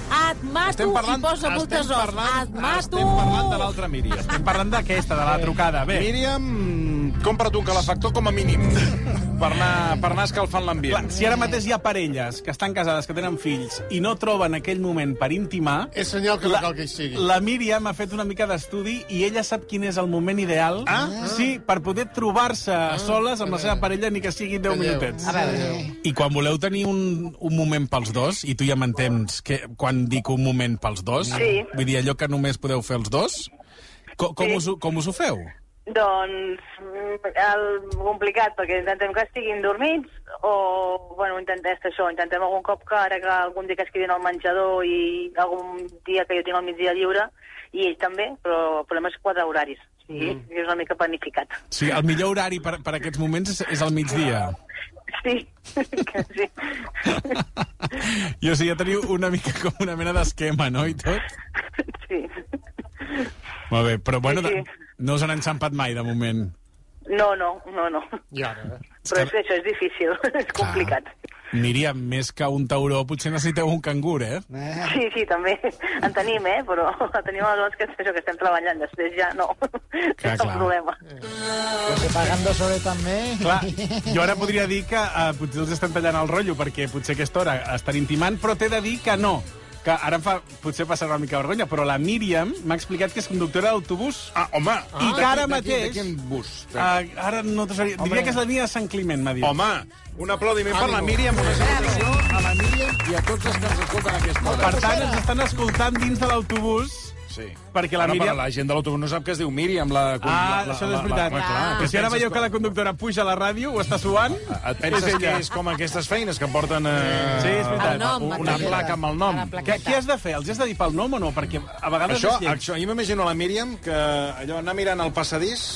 Speaker 9: Et mato
Speaker 2: Estem parlant-
Speaker 9: i posa
Speaker 2: estem
Speaker 9: moltes hores.
Speaker 2: parlant-
Speaker 9: Et mato.
Speaker 2: estem parlant de l'altra Míriam. Estem parlant d'aquesta, de la trucada. Bé,
Speaker 1: Míriam, compra't un calefactor com a mínim per anar, per anar escalfant l'ambient.
Speaker 2: si ara mateix hi ha parelles que estan casades, que tenen fills, i no troben aquell moment per intimar...
Speaker 6: És senyal que no cal que hi sigui.
Speaker 2: La Míriam ha fet una mica d'estudi i ella sap quin és el moment ideal ah? sí, per poder trobar-se ah, soles amb la seva parella ni que siguin 10 minutets.
Speaker 9: A veure.
Speaker 2: I quan voleu tenir un, un moment pels dos, i tu ja m'entens que, quan dic un moment pels dos,
Speaker 13: Sí.
Speaker 2: vull dir allò que només podeu fer els dos, co com,
Speaker 13: Sí.
Speaker 2: us, ho- com us ho feu?
Speaker 13: Doncs mm, el complicat, perquè intentem que estiguin dormits o, bueno, intentem és que això, intentem algun cop que ara que algun dia que es quedin al menjador i algun dia que jo tinc el migdia lliure, i ell també, però el problema és quadrar horaris. Sí, mm. és una mica planificat.
Speaker 2: Sí, el millor horari per, per aquests moments és, és al migdia.
Speaker 13: Sí, que sí.
Speaker 2: I o sigui, ja teniu una mica com una mena d'esquema, no?, i tot?
Speaker 13: Sí.
Speaker 2: Molt bé, però bueno,
Speaker 13: Sí, sí.
Speaker 2: de, no us han enxampat mai, de moment.
Speaker 13: No, no, no, no.
Speaker 6: I ara?
Speaker 13: Però
Speaker 2: Ah.
Speaker 13: és que això és difícil, és complicat.
Speaker 2: Míriam, més que un tauró, potser necessiteu un cangur, eh?
Speaker 13: Sí, sí, també en tenim, eh? Però tenim els que, això, que estem treballant, després ja no.
Speaker 2: Clar,
Speaker 13: és el problema.
Speaker 11: Se pagan dos horas también.
Speaker 2: Clar, jo ara podria dir que eh, potser els estem tallant el rotllo, perquè potser aquesta hora estan intimant, però t'he de dir que no. Que ara em fa, potser passarà una mica vergonya, però la Míriam m'ha explicat que és conductora d'autobús. Ah, home! I que ara
Speaker 1: de quin- de
Speaker 2: mateix...
Speaker 1: quin bus?
Speaker 2: Eh, ara no t'ho sabria. Diria que és la línia de Sant Climent, m'ha dit. Home,
Speaker 1: un aplaudiment per la Míriam, una salutació a la Míriam i a tots els que ens escolten a aquesta hora.
Speaker 2: Per tant, ens estan escoltant dins de l'autobús.
Speaker 1: Sí.
Speaker 2: Perquè la
Speaker 1: Bueno,
Speaker 2: Míriam-
Speaker 1: però la gent de l'autobús no sap que es diu Míriam, la...
Speaker 2: Ah, això no és veritat.
Speaker 1: home, clar,
Speaker 2: Que
Speaker 1: què
Speaker 2: si ara
Speaker 1: penses
Speaker 2: veieu que la conductora puja a la ràdio, ho està suant...
Speaker 1: Et penses que és com aquestes feines que porten eh,
Speaker 2: Sí, és veritat.
Speaker 1: El nom,
Speaker 2: una
Speaker 1: aquella.
Speaker 2: placa amb el nom.
Speaker 1: A la plaqueta.
Speaker 2: Què, què has de fer? Els has de dir pel nom o no? Perquè a vegades...
Speaker 1: Això,
Speaker 2: és lleig.
Speaker 1: això, jo m'imagino a la Míriam que allò anar mirant el passadís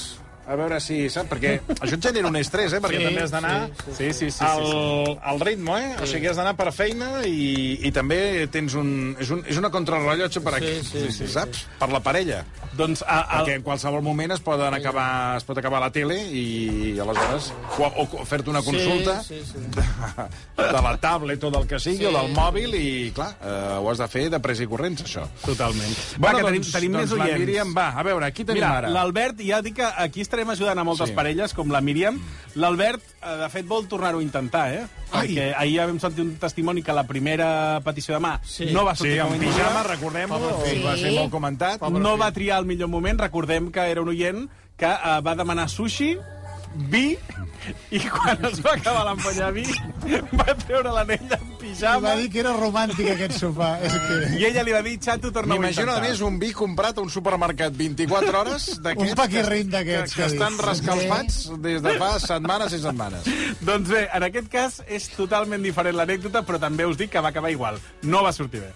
Speaker 1: a veure si, saps? Perquè això et genera un estrès, eh? Perquè
Speaker 2: Sí,
Speaker 1: també has d'anar
Speaker 2: sí, sí, sí, sí,
Speaker 1: al,
Speaker 2: sí, sí.
Speaker 1: al ritme, eh? O sigui, has d'anar per feina i, i també tens un... És, un, és una contrarrellotge per aquí,
Speaker 2: Sí, sí, sí,
Speaker 1: saps? Per la parella.
Speaker 2: Doncs, a,
Speaker 1: a... Perquè en qualsevol moment es, poden acabar, es pot acabar la tele i aleshores o, o, o fer-te una consulta
Speaker 6: Sí, sí, sí.
Speaker 1: de la tablet o del que sigui,
Speaker 6: Sí.
Speaker 1: sí. o del mòbil, i clar, eh, ho has de fer de pres i corrents, això.
Speaker 2: Totalment. Va, que tenim- tenim més
Speaker 1: doncs,
Speaker 2: oients.
Speaker 1: La Míriam, va, a veure, aquí tenim
Speaker 2: Mira,
Speaker 1: ara.
Speaker 2: l'Albert, ja dic que aquí estarem ajudant a moltes
Speaker 1: Sí.
Speaker 2: sí. parelles, com la Míriam. L'Albert, eh, de fet, vol tornar-ho a intentar, eh? Ai. Perquè ahir ja vam sentir un testimoni que la primera petició de mà sí. no va sortir
Speaker 1: sí,
Speaker 2: com a
Speaker 1: en pijama,
Speaker 2: individual.
Speaker 1: recordem-ho,
Speaker 2: Sí.
Speaker 1: va ser molt comentat.
Speaker 2: No va triar el millor moment, recordem que era un oient que eh, va demanar sushi, vi, i quan es va acabar l'ampolla de vi, va treure l'anella en
Speaker 10: I va
Speaker 2: pijama,
Speaker 10: dir que era romàntic aquest sopar. És que...
Speaker 2: i ella li va dir, xato, torna-ho a
Speaker 1: M'imagino,
Speaker 2: intentar.
Speaker 1: a més, un vi comprat a un supermercat 24 hores d'aquests
Speaker 10: Un paquirrín d'aquests,
Speaker 1: que, que,
Speaker 10: que
Speaker 1: estan
Speaker 10: dius.
Speaker 1: rescalfats des de fa setmanes i setmanes.
Speaker 2: Doncs bé, en aquest cas és totalment diferent l'anècdota, però també us dic que va acabar igual. No va sortir bé.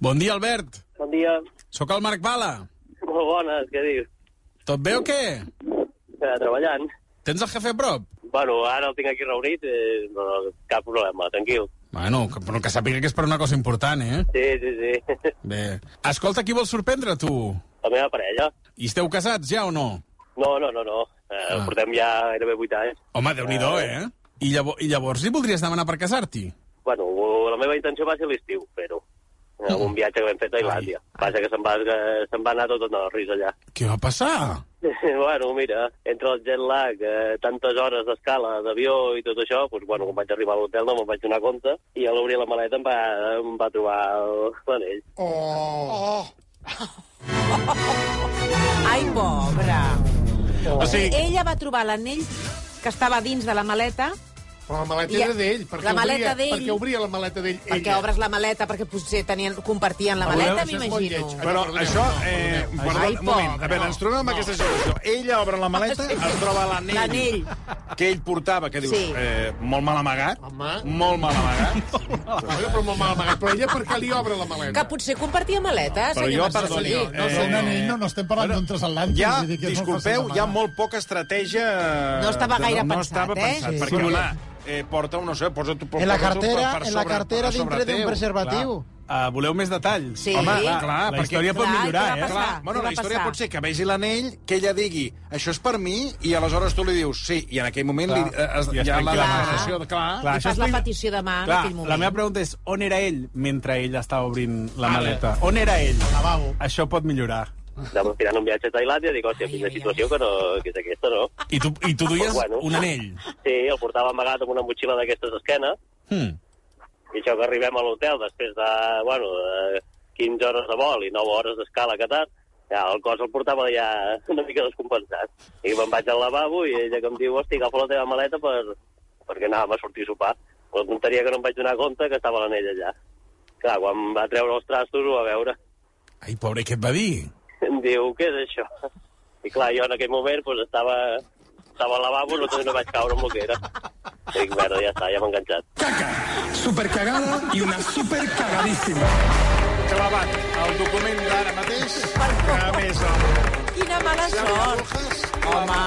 Speaker 2: Bon dia, Albert.
Speaker 12: Bon dia.
Speaker 2: Sóc el Marc Bala.
Speaker 12: Molt bones, què dius?
Speaker 2: Tot bé o què?
Speaker 12: Eh, treballant.
Speaker 2: Tens el jefe a prop?
Speaker 12: Bueno, ara el tinc aquí reunit, eh, no, no, cap problema, tranquil.
Speaker 2: Bueno, que, però que sàpiga que és per una cosa important, eh?
Speaker 12: Sí, sí, sí.
Speaker 2: Bé. Escolta, qui vols sorprendre, tu?
Speaker 12: La meva parella.
Speaker 2: I esteu casats ja o no?
Speaker 12: No, no, no, no. Eh, ah. Portem ja gairebé 8 anys.
Speaker 2: Home, déu nhi eh? I, llavors, I llavors li voldries demanar per casar-t'hi?
Speaker 12: Bueno, la meva intenció va ser l'estiu, però en un viatge que vam fer a Tailàndia. Passa que se'n va, que se'n va anar tot en el risc allà.
Speaker 2: Què va passar?
Speaker 12: bueno, mira, entre el jet lag, eh, tantes hores d'escala, d'avió i tot això, doncs, bueno, quan vaig arribar a l'hotel no me'n vaig donar compte i a l'obrir la maleta em va, em va trobar el- l'anell.
Speaker 9: Oh. Ai, pobra.
Speaker 6: O sigui-
Speaker 9: Ella va trobar l'anell que estava dins de la maleta
Speaker 6: Però Oh. la maleta
Speaker 9: I-
Speaker 6: era d'ell, perquè,
Speaker 9: la maleta
Speaker 6: obria,
Speaker 9: d'ell.
Speaker 6: perquè obria la maleta d'ell ella.
Speaker 9: perquè obres la maleta, perquè potser tenien, compartien la
Speaker 6: Veureu?
Speaker 9: maleta,
Speaker 6: Això és molt
Speaker 9: m'imagino.
Speaker 6: lleig.
Speaker 1: Però això... Eh, perdó,
Speaker 9: Ai,
Speaker 1: un moment. A veure, ens trobem amb
Speaker 9: no.
Speaker 1: aquesta situació. Ella obre la maleta, es troba l'anell...
Speaker 9: L'anell.
Speaker 1: Que ell portava, que dius,
Speaker 6: Sí.
Speaker 1: eh, molt mal amagat.
Speaker 6: Home.
Speaker 1: Molt mal amagat.
Speaker 6: Bueno, però molt mal amagat. Però ella per què li obre la maleta?
Speaker 9: Que potser compartia maleta,
Speaker 1: Però
Speaker 9: senyor
Speaker 1: jo, perdoni,
Speaker 9: Marcelí.
Speaker 10: No,
Speaker 1: Eh,
Speaker 10: eh... no, no, no estem parlant d'un transatlàntic.
Speaker 1: Hi ha,
Speaker 10: vull dir que és molt fàcil
Speaker 1: disculpeu,
Speaker 10: demanar.
Speaker 1: hi ha molt poca estratègia... eh,
Speaker 10: No estava
Speaker 1: de-
Speaker 10: gaire
Speaker 1: no
Speaker 10: pensat,
Speaker 1: estava
Speaker 10: eh?
Speaker 1: pensat,
Speaker 10: Sí,
Speaker 1: perquè,
Speaker 10: sí.
Speaker 1: clar, eh, porta un, no sé, posa tu...
Speaker 11: En la cartera, en la cartera dintre d'un preservatiu.
Speaker 2: Uh, voleu més detalls?
Speaker 11: Sí.
Speaker 1: Home, clar,
Speaker 2: clar,
Speaker 1: clar,
Speaker 2: la història pot millorar, eh?
Speaker 1: Clar, bueno, la història pot ser que vegi l'anell, que ella digui, això és per mi, i aleshores tu li dius, sí, i en aquell moment
Speaker 2: Clar.
Speaker 1: li, eh, es,
Speaker 2: I
Speaker 1: ja,
Speaker 2: es
Speaker 1: hi ha la
Speaker 2: tranquil·la.
Speaker 1: declaració, clar.
Speaker 2: Clar,
Speaker 9: Li
Speaker 2: això
Speaker 9: fas
Speaker 2: és
Speaker 9: la
Speaker 2: li-
Speaker 9: petició de mà en
Speaker 2: Clar,
Speaker 9: aquell moment.
Speaker 2: la meva pregunta és on era ell mentre ella estava obrint la
Speaker 12: Ah,
Speaker 2: maleta?
Speaker 12: bé.
Speaker 2: On era ell?
Speaker 6: Ah,
Speaker 2: Això pot millorar.
Speaker 12: Anàvem tirant un viatge a Tailàndia i dic, hòstia, quina situació que, no, que és aquesta, no?
Speaker 2: I tu, i tu duies un anell?
Speaker 12: Sí, el portava amagat amb una motxilla d'aquestes esquenes.
Speaker 2: Hmm.
Speaker 12: I això que arribem a l'hotel després de, bueno, de 15 hores de vol i 9 hores d'escala que tard, ja, el cos el portava ja una mica descompensat. I me'n vaig al lavabo i ella que em diu, hòstia, agafa la teva maleta per... perquè anàvem a sortir a sopar. La tonteria que no em vaig donar compte que estava l'anella allà. Clar, quan va treure els trastos ho va veure.
Speaker 2: Ai, pobre, què et va dir?
Speaker 12: Em diu, què és això? I clar, jo en aquell moment pues, estava, estava al lavabo, no, no vaig caure amb el que era. Dic, merda, ja està, ja m'he enganxat.
Speaker 7: Supercagada i una supercagadíssima.
Speaker 1: Clavat el document d'ara mateix, que a més el...
Speaker 9: Quina mala sort.
Speaker 2: Home...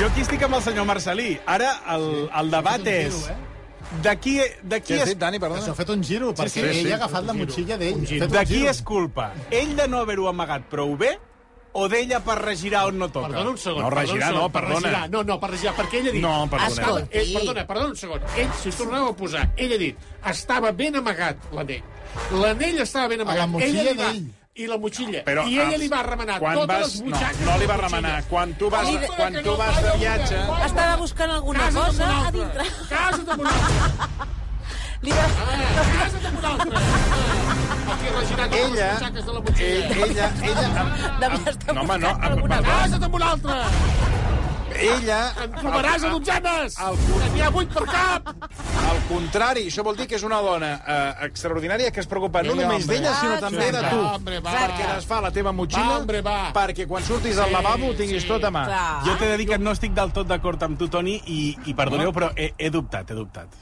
Speaker 2: Jo aquí estic amb el senyor Marcelí. Ara el, el debat és... De qui, de qui
Speaker 10: Què has
Speaker 2: és...
Speaker 10: dit, Dani, perdona? S'ha fet un giro, perquè
Speaker 2: sí, sí.
Speaker 10: ell ha agafat la motxilla d'ell. Ha fet un
Speaker 2: De qui
Speaker 10: giro.
Speaker 2: és culpa? Ell de no haver-ho amagat prou bé o d'ella per regirar on no toca?
Speaker 6: Perdona un segon. perdona
Speaker 2: No,
Speaker 6: un
Speaker 2: regirar
Speaker 6: segon,
Speaker 2: no,
Speaker 6: per
Speaker 2: perdona.
Speaker 6: regirar. No, no, per regirar, perquè ella ha dit...
Speaker 2: No, perdoneu.
Speaker 6: Estava, eh,
Speaker 2: Escolti.
Speaker 6: perdona, perdona un segon. Ell, si ho torneu a posar, ell ha dit, estava ben amagat l'anell. L'anell estava ben amagat.
Speaker 10: la motxilla
Speaker 6: Ella li va-
Speaker 10: d'ell.
Speaker 6: I la motxilla.
Speaker 1: Però,
Speaker 6: I ella
Speaker 1: ah,
Speaker 6: li va remenar
Speaker 1: quan
Speaker 6: totes
Speaker 1: vas-
Speaker 6: les butxaques.
Speaker 1: no, no li va remenar. Quan tu vas- quan tu vas de viatge-
Speaker 9: Estava buscant alguna
Speaker 6: Casa't amb
Speaker 9: cosa
Speaker 6: un
Speaker 9: a
Speaker 6: altre.
Speaker 9: dintre.
Speaker 6: Casa't amb un altre.
Speaker 9: Li va...
Speaker 6: Ah, Casa't amb un altre. Ah. Aquí regirant totes les
Speaker 1: Ella-
Speaker 6: butxaques de la motxilla.
Speaker 1: Eh, Ella, ella... No, home, no. Amb, amb,
Speaker 6: Casa't amb un altre.
Speaker 1: ella...
Speaker 6: En trobaràs a dotzenes. N'hi ha vuit per cap.
Speaker 1: Al contrari, això vol dir que és una dona eh, extraordinària que es preocupa no
Speaker 6: Sí,
Speaker 1: només
Speaker 6: hombre.
Speaker 1: d'ella, sinó
Speaker 6: Ah,
Speaker 1: també de
Speaker 6: exacte.
Speaker 1: tu.
Speaker 6: Hombre, va.
Speaker 1: perquè desfà la teva motxilla,
Speaker 6: Va, hombre, va.
Speaker 1: perquè quan surtis al lavabo ho tinguis tot a mà.
Speaker 2: Ah, Jo t'he de dir que no estic del tot d'acord amb tu, Toni, i, i perdoneu, però he, he dubtat, he dubtat.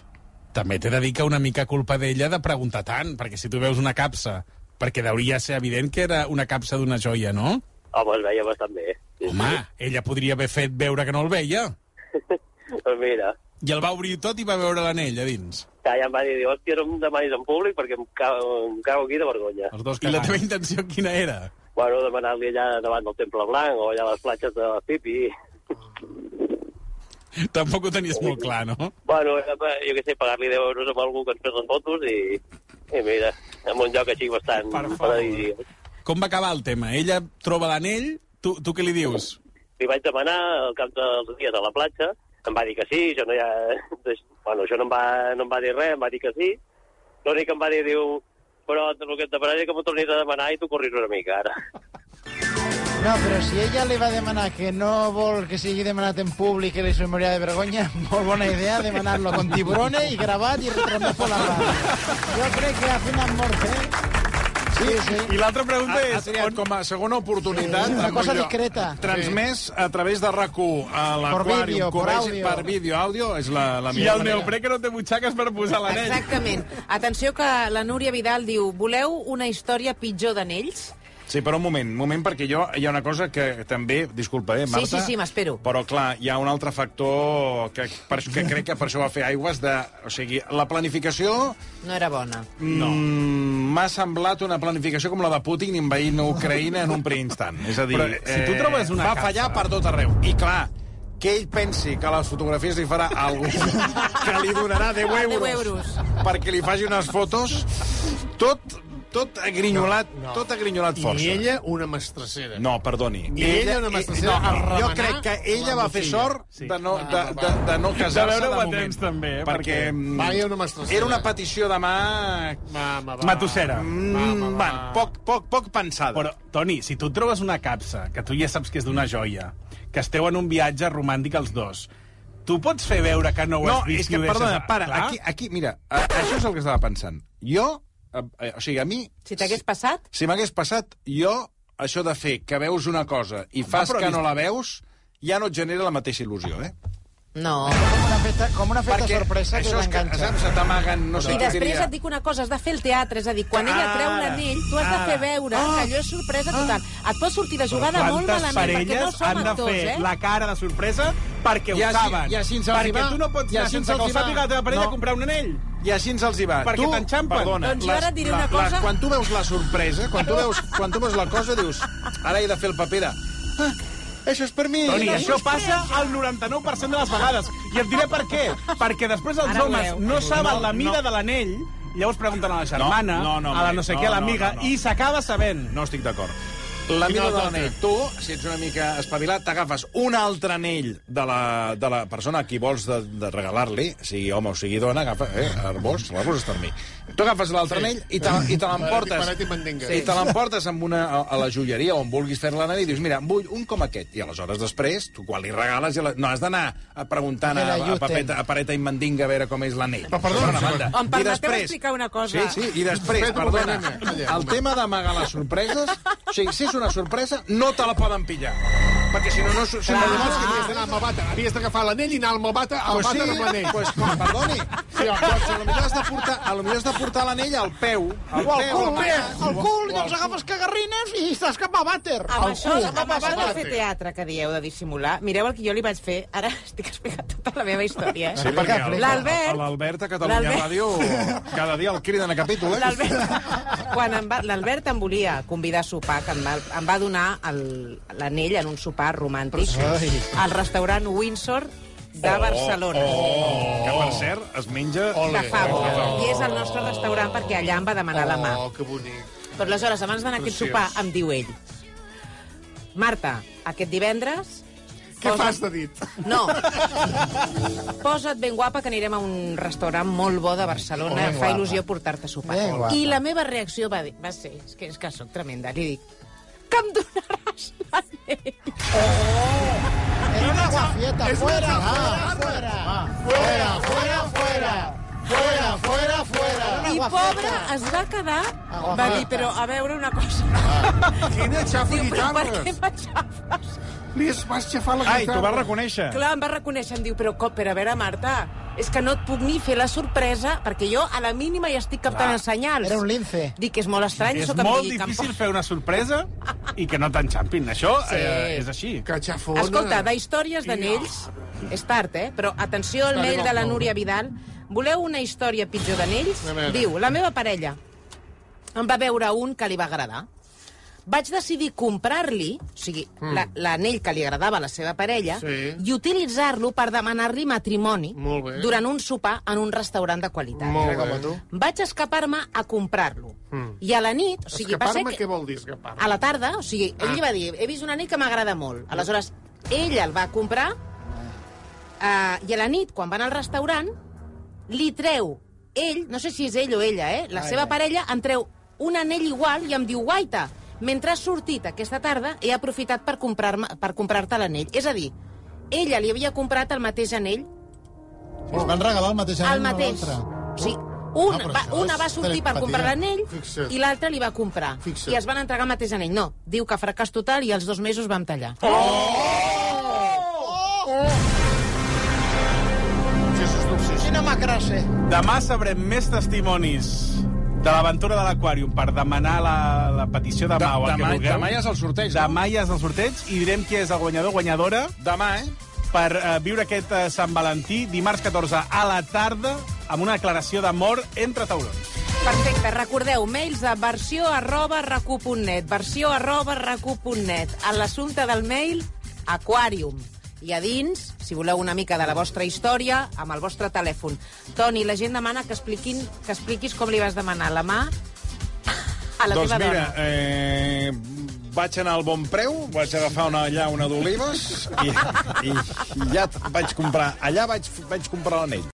Speaker 2: També t'he de dir que una mica culpa d'ella de preguntar tant, perquè si tu veus una capsa, perquè deuria ser evident que era una capsa d'una joia, no?
Speaker 12: Home, es veia bastant bé.
Speaker 2: Home, ella podria haver fet veure que no el veia.
Speaker 12: Doncs mira,
Speaker 2: I el va obrir tot i va veure l'anell a dins.
Speaker 12: ja, ja em va dir, hòstia, no em demanis en públic perquè em cago, em cago aquí de vergonya.
Speaker 2: Els dos I la teva intenció quina era?
Speaker 12: Bueno, demanant-li allà davant del Temple Blanc o allà a les platges de Pipi.
Speaker 2: Tampoc ho tenies molt clar, no?
Speaker 12: Bueno, eh, jo què sé, pagar-li 10 euros amb algú que ens fes les fotos i, i mira, en un lloc així bastant paradisiac.
Speaker 2: Com va acabar el tema? Ella troba l'anell, tu, tu què li dius?
Speaker 12: Li vaig demanar al cap dels dies a la platja, em va dir que sí, jo no hi ha... Bueno, això no em va, no em va dir res, em va dir que sí. L'únic que em va dir, diu, però el que et demanaré és que m'ho tornis a demanar i tu corris una mica, ara.
Speaker 11: No, però si ella li va demanar que no vol que sigui demanat en públic i li se moria de vergonya, molt bona idea demanar-lo con tiburones i gravat i retramat per la barra. Jo crec que ha fet una mort, eh? Sí, sí.
Speaker 1: I l'altra
Speaker 2: Ah,
Speaker 1: pregunta
Speaker 11: és
Speaker 1: Ha triat com a segona oportunitat.
Speaker 11: Sí, una
Speaker 1: en
Speaker 11: cosa
Speaker 1: un lloc
Speaker 11: discreta.
Speaker 1: Transmès a través de rac a l'aquàrium.
Speaker 11: vídeo, per
Speaker 1: cobreix
Speaker 11: àudio.
Speaker 1: Per vídeo, àudio, és la, la
Speaker 2: I el neoprè que no té butxaques per posar l'anell.
Speaker 9: Exactament. Atenció que la Núria Vidal diu voleu una història pitjor d'anells?
Speaker 1: Sí, però un moment, un moment, perquè jo hi ha una cosa que també... Disculpa, eh,
Speaker 9: Sí,
Speaker 1: Marta?
Speaker 9: sí, sí, m'espero.
Speaker 1: Però, clar, hi ha un altre factor que, per, que crec que per això va fer aigües de... O sigui, la planificació
Speaker 9: No era bona.
Speaker 1: no. Mm, m'ha semblat una planificació com la de Putin invadint Ucraïna en un preinstant. És a dir, eh,
Speaker 2: Però, si tu trobes una
Speaker 1: va
Speaker 2: casa-
Speaker 1: fallar per tot arreu. I, clar, que ell pensi que a les fotografies li farà alguna que li donarà 10
Speaker 9: 10
Speaker 1: euros,
Speaker 9: euros.
Speaker 1: perquè li faci unes fotos, tot, tot agrinyolat, no, no. tot agrinyolat força.
Speaker 6: I ella, una mestracera.
Speaker 1: No, perdoni.
Speaker 6: Ni ella una mestracera
Speaker 1: eh,
Speaker 6: a remenar
Speaker 1: jo crec que ella
Speaker 6: la
Speaker 1: va fer
Speaker 6: mocilla.
Speaker 1: sort
Speaker 6: Sí.
Speaker 1: de no,
Speaker 6: Ah,
Speaker 1: de,
Speaker 6: va,
Speaker 1: de,
Speaker 6: va.
Speaker 1: de no casar-se
Speaker 2: De
Speaker 1: de,
Speaker 2: veure-ho a
Speaker 1: moment.
Speaker 2: temps, també, eh,
Speaker 1: perquè,
Speaker 2: perquè-
Speaker 1: mm,
Speaker 6: Vaya una mestracera.
Speaker 1: Era una petició de mà...
Speaker 6: Mama, va.
Speaker 2: Matussera.
Speaker 1: Mm, va, poc, poc, poc pensada.
Speaker 2: Però, Toni, si tu et trobes una capsa, que tu ja saps que és d'una joia, que esteu en un viatge romàntic els dos, tu pots fer veure que no ho
Speaker 1: no,
Speaker 2: has
Speaker 1: és
Speaker 2: vist
Speaker 1: que,
Speaker 2: i ho deixes...
Speaker 1: perdona, para,
Speaker 2: clar?
Speaker 1: aquí, aquí, mira, a, això és el que estava pensant. Jo, eh, eh, o sigui, a mi...
Speaker 9: Si t'hagués passat,
Speaker 1: Si m'hagués passat, jo, això de fer que veus una cosa i fas
Speaker 2: però
Speaker 1: que
Speaker 2: vist-
Speaker 1: no la veus, ja no et genera la mateixa il·lusió, eh?
Speaker 9: no.
Speaker 11: Com una festa, com una festa
Speaker 1: Perquè
Speaker 11: sorpresa que
Speaker 1: això és que,
Speaker 11: t'enganxa.
Speaker 1: saps, se t'amaguen... No sé
Speaker 9: I
Speaker 1: què
Speaker 9: després
Speaker 1: diria.
Speaker 9: et dic una cosa, has de fer el teatre, és a dir, quan ella treu
Speaker 1: Ara,
Speaker 9: l'anell, tu has de
Speaker 2: ara.
Speaker 9: fer veure que allò és sorpresa total. Et pot sortir la jugada molt
Speaker 2: Quantes
Speaker 9: malament, perquè no
Speaker 2: parelles
Speaker 9: som
Speaker 2: han de
Speaker 9: actors,
Speaker 2: fer
Speaker 9: eh?
Speaker 2: la cara de sorpresa perquè ho
Speaker 1: I així-
Speaker 2: saben?
Speaker 1: i així ens els hi
Speaker 2: perquè
Speaker 1: va.
Speaker 2: tu no pots
Speaker 1: I
Speaker 2: anar
Speaker 1: així ens
Speaker 2: sense que ho
Speaker 1: els hi va.
Speaker 2: sàpiga la teva parella
Speaker 1: No.
Speaker 2: a comprar un anell.
Speaker 1: I així ens els hi va.
Speaker 2: Perquè
Speaker 1: Tu,
Speaker 2: t'enxampen.
Speaker 1: Perdona,
Speaker 9: Doncs jo ara et diré una cosa.
Speaker 1: quan tu veus la sorpresa, quan tu veus, quan tu veus la cosa, dius, ara he de fer el paper de... "Ah, això és per mi.
Speaker 2: Toni, això passa al 99% de les vegades. I et diré per què. Perquè després els
Speaker 9: Ara ho
Speaker 2: homes
Speaker 9: veu.
Speaker 2: no saben
Speaker 1: No,
Speaker 2: la mida
Speaker 1: no.
Speaker 2: de l'anell, llavors pregunten a la germana,
Speaker 1: No, no, no,
Speaker 2: a la
Speaker 1: home,
Speaker 2: no sé
Speaker 1: no,
Speaker 2: què, a
Speaker 1: no,
Speaker 2: l'amiga,
Speaker 1: no, no.
Speaker 2: i s'acaba sabent.
Speaker 1: No estic d'acord. La
Speaker 6: Quin
Speaker 1: mida de
Speaker 6: altre
Speaker 1: l'anell. Tu, si ets una mica espavilat, t'agafes un altre anell de la, de la persona a qui vols de, de regalar-li, sigui home o sigui dona, agafa, eh, arbós, l'arbós està amb mi. Tu agafes l'altre
Speaker 6: Sí.
Speaker 1: anell i te, i te l'emportes.
Speaker 6: Parat i mandinga.
Speaker 1: I te l'emportes amb una, a, a la joieria on vulguis fer l'anell i dius, mira, en vull un com aquest. I aleshores després, tu quan li regales... ja La... No, has d'anar a- preguntant a,
Speaker 11: Mira,
Speaker 1: a,
Speaker 11: Justin.
Speaker 1: papeta, a pareta i mandinga a veure com és l'anell.
Speaker 6: Però, perdona, un segon.
Speaker 9: Em permeteu explicar una cosa?
Speaker 1: Sí, sí, i després,
Speaker 6: Espera,
Speaker 1: perdona,
Speaker 3: eh?
Speaker 6: perdona, calla,
Speaker 1: el tema d'amagar les sorpreses, o sigui, si és una sorpresa, no te la poden pillar. Perquè si no, no... Si
Speaker 6: Clar,
Speaker 1: no,
Speaker 6: llavors que havies d'anar al Mabata. Havies d'agafar l'anell i anar al Mabata, al
Speaker 1: Pues
Speaker 6: Mabata
Speaker 1: sí,
Speaker 6: amb l'anell.
Speaker 1: pues, com, perdoni. Sí, doncs, a lo millor has de portar, a lo millor has de portar l'anell al peu. Al
Speaker 3: O al
Speaker 1: peu,
Speaker 3: cul,
Speaker 1: al
Speaker 3: bé,
Speaker 1: nas,
Speaker 3: al
Speaker 1: o-
Speaker 3: cul,
Speaker 1: o
Speaker 3: doncs
Speaker 1: al-
Speaker 3: agafes cagarrines i estàs cap a vàter.
Speaker 9: Amb
Speaker 3: Al
Speaker 9: això,
Speaker 3: cul,
Speaker 9: amb
Speaker 3: cap a
Speaker 9: això de fer
Speaker 3: vàter.
Speaker 9: teatre que dieu de dissimular, mireu el que jo li vaig fer. Ara estic explicant tota la meva història, eh?
Speaker 1: Sí, perquè el-
Speaker 9: l'Albert...
Speaker 1: el- l'Albert a Catalunya
Speaker 9: l'Albert-
Speaker 1: Ràdio cada dia el criden a capítol, eh?
Speaker 9: quan em va- l'Albert em volia convidar a sopar, que em va, em va donar el- l'anell en un sopar romàntic
Speaker 1: Ai.
Speaker 9: al restaurant Windsor de Barcelona.
Speaker 1: Oh, que, per cert, es menja...
Speaker 9: De Favo.
Speaker 1: oh.
Speaker 9: I és el nostre restaurant perquè allà em va demanar la mà.
Speaker 6: Oh, que bonic.
Speaker 9: Però aleshores, abans d'anar a aquest
Speaker 6: Preciós.
Speaker 9: sopar, em diu ell... Marta, aquest divendres...
Speaker 6: Què fas de dit?
Speaker 9: No. Posa't ben guapa que anirem a un restaurant molt bo de
Speaker 11: Molt
Speaker 9: Barcelona.
Speaker 11: ben
Speaker 9: Fa
Speaker 11: guapa.
Speaker 9: il·lusió portar-te a sopar.
Speaker 11: Ben guapa.
Speaker 9: I la meva reacció va, dir, va ser... És que, és que sóc tremenda. Li dic... Que em donaràs l'anell.
Speaker 11: Es Oh! una guafieta.
Speaker 3: Es
Speaker 11: Fuera,
Speaker 3: una
Speaker 11: va, fuera, fuera, fuera, fuera. Fuera, fuera, fuera.
Speaker 9: I
Speaker 11: Una Ah,
Speaker 9: pobre
Speaker 11: guafieta.
Speaker 9: es va quedar... Va
Speaker 11: guapa.
Speaker 9: dir, però a veure una cosa...
Speaker 11: Ah,
Speaker 6: Quina xafa
Speaker 9: Diu, però per què
Speaker 6: guitarres.
Speaker 9: m'aixafes?
Speaker 6: Li es- vas xafar la guitarra.
Speaker 1: Ai, t'ho vas reconèixer.
Speaker 9: Clar, em va reconèixer, em diu, però, co- però a veure, Marta, és que no et puc ni fer la sorpresa, perquè jo a la mínima ja estic captant els senyals.
Speaker 11: Era un lince.
Speaker 9: Dic que és molt estrany,
Speaker 2: És
Speaker 9: això que em
Speaker 2: molt
Speaker 9: digui que em
Speaker 2: difícil fer una sorpresa i que no t'enxampin. Això
Speaker 9: Sí.
Speaker 2: eh, és així.
Speaker 6: Que
Speaker 9: po-
Speaker 6: xafona.
Speaker 9: Escolta, de històries d'anells, és tard, eh? Però atenció al
Speaker 6: Està
Speaker 9: mail de la
Speaker 6: arribant,
Speaker 9: Núria Vidal. Voleu una història pitjor d'anells?
Speaker 6: A veure.
Speaker 9: Diu, la meva parella em va veure un que li va agradar. Vaig decidir comprar-li, o sigui,
Speaker 6: Mm.
Speaker 9: la- l'anell que li agradava a la seva parella,
Speaker 6: Sí.
Speaker 9: i utilitzar-lo per demanar-li matrimoni
Speaker 6: Molt bé.
Speaker 9: durant un sopar en un restaurant de qualitat.
Speaker 6: Molt bé. Com a tu.
Speaker 9: Vaig escapar-me a comprar-lo.
Speaker 6: Mm.
Speaker 9: I a la nit, o sigui, va ser
Speaker 6: Escapar-me,
Speaker 9: que...
Speaker 6: què vol dir escapar-me?
Speaker 9: A la tarda, o sigui, ell li va dir, he vist un anell que m'agrada molt. Aleshores, ella el va comprar eh, i a la nit, quan van al restaurant, li treu ell, no sé si és ell o ella, eh, la
Speaker 11: Ai,
Speaker 9: seva
Speaker 11: ai.
Speaker 9: parella, en treu un anell igual i em diu, guaita, mentre has sortit aquesta tarda he aprofitat per comprar-me- per comprar-te comprar l'anell. És a dir, ella li havia comprat el mateix anell,
Speaker 10: Es van regalar el mateix any
Speaker 9: el
Speaker 10: una a
Speaker 9: mateix.
Speaker 10: l'altra.
Speaker 9: O sigui, una,
Speaker 10: però
Speaker 9: va,
Speaker 10: això
Speaker 9: una
Speaker 10: és
Speaker 9: va sortir per
Speaker 10: telepatia.
Speaker 9: comprar l'anell
Speaker 10: Fixa't.
Speaker 9: i l'altra li va comprar.
Speaker 10: Fixa't.
Speaker 9: I es van entregar el mateix anell. No, diu que fracàs total i als dos mesos vam tallar. Oh!
Speaker 11: Quina macrase.
Speaker 2: Demà sabrem més testimonis de l'aventura de l'Aquàrium per demanar la, la petició de mà o el
Speaker 1: demà-
Speaker 2: que vulgueu.
Speaker 1: demà ja és el sorteig, no?
Speaker 2: Demà ja és el sorteig i direm qui és el guanyador o guanyadora
Speaker 1: Demà, eh?
Speaker 2: per eh, viure aquest eh, Sant Valentí dimarts 14 a la tarda amb una declaració d'amor entre taulons.
Speaker 9: Perfecte, recordeu, mails a versió arroba recu.net, versió arroba recu.net. A l'assumpte del mail, Aquarium. I a dins, si voleu una mica de la vostra història, amb el vostre telèfon. Toni, la gent demana que, expliquin, que expliquis com li vas demanar la mà a la
Speaker 1: doncs
Speaker 9: teva
Speaker 1: mira,
Speaker 9: dona.
Speaker 1: eh, vaig anar al bon preu, vaig agafar una llauna d'olives i, i, i ja et vaig comprar. Allà vaig, vaig comprar l'anell.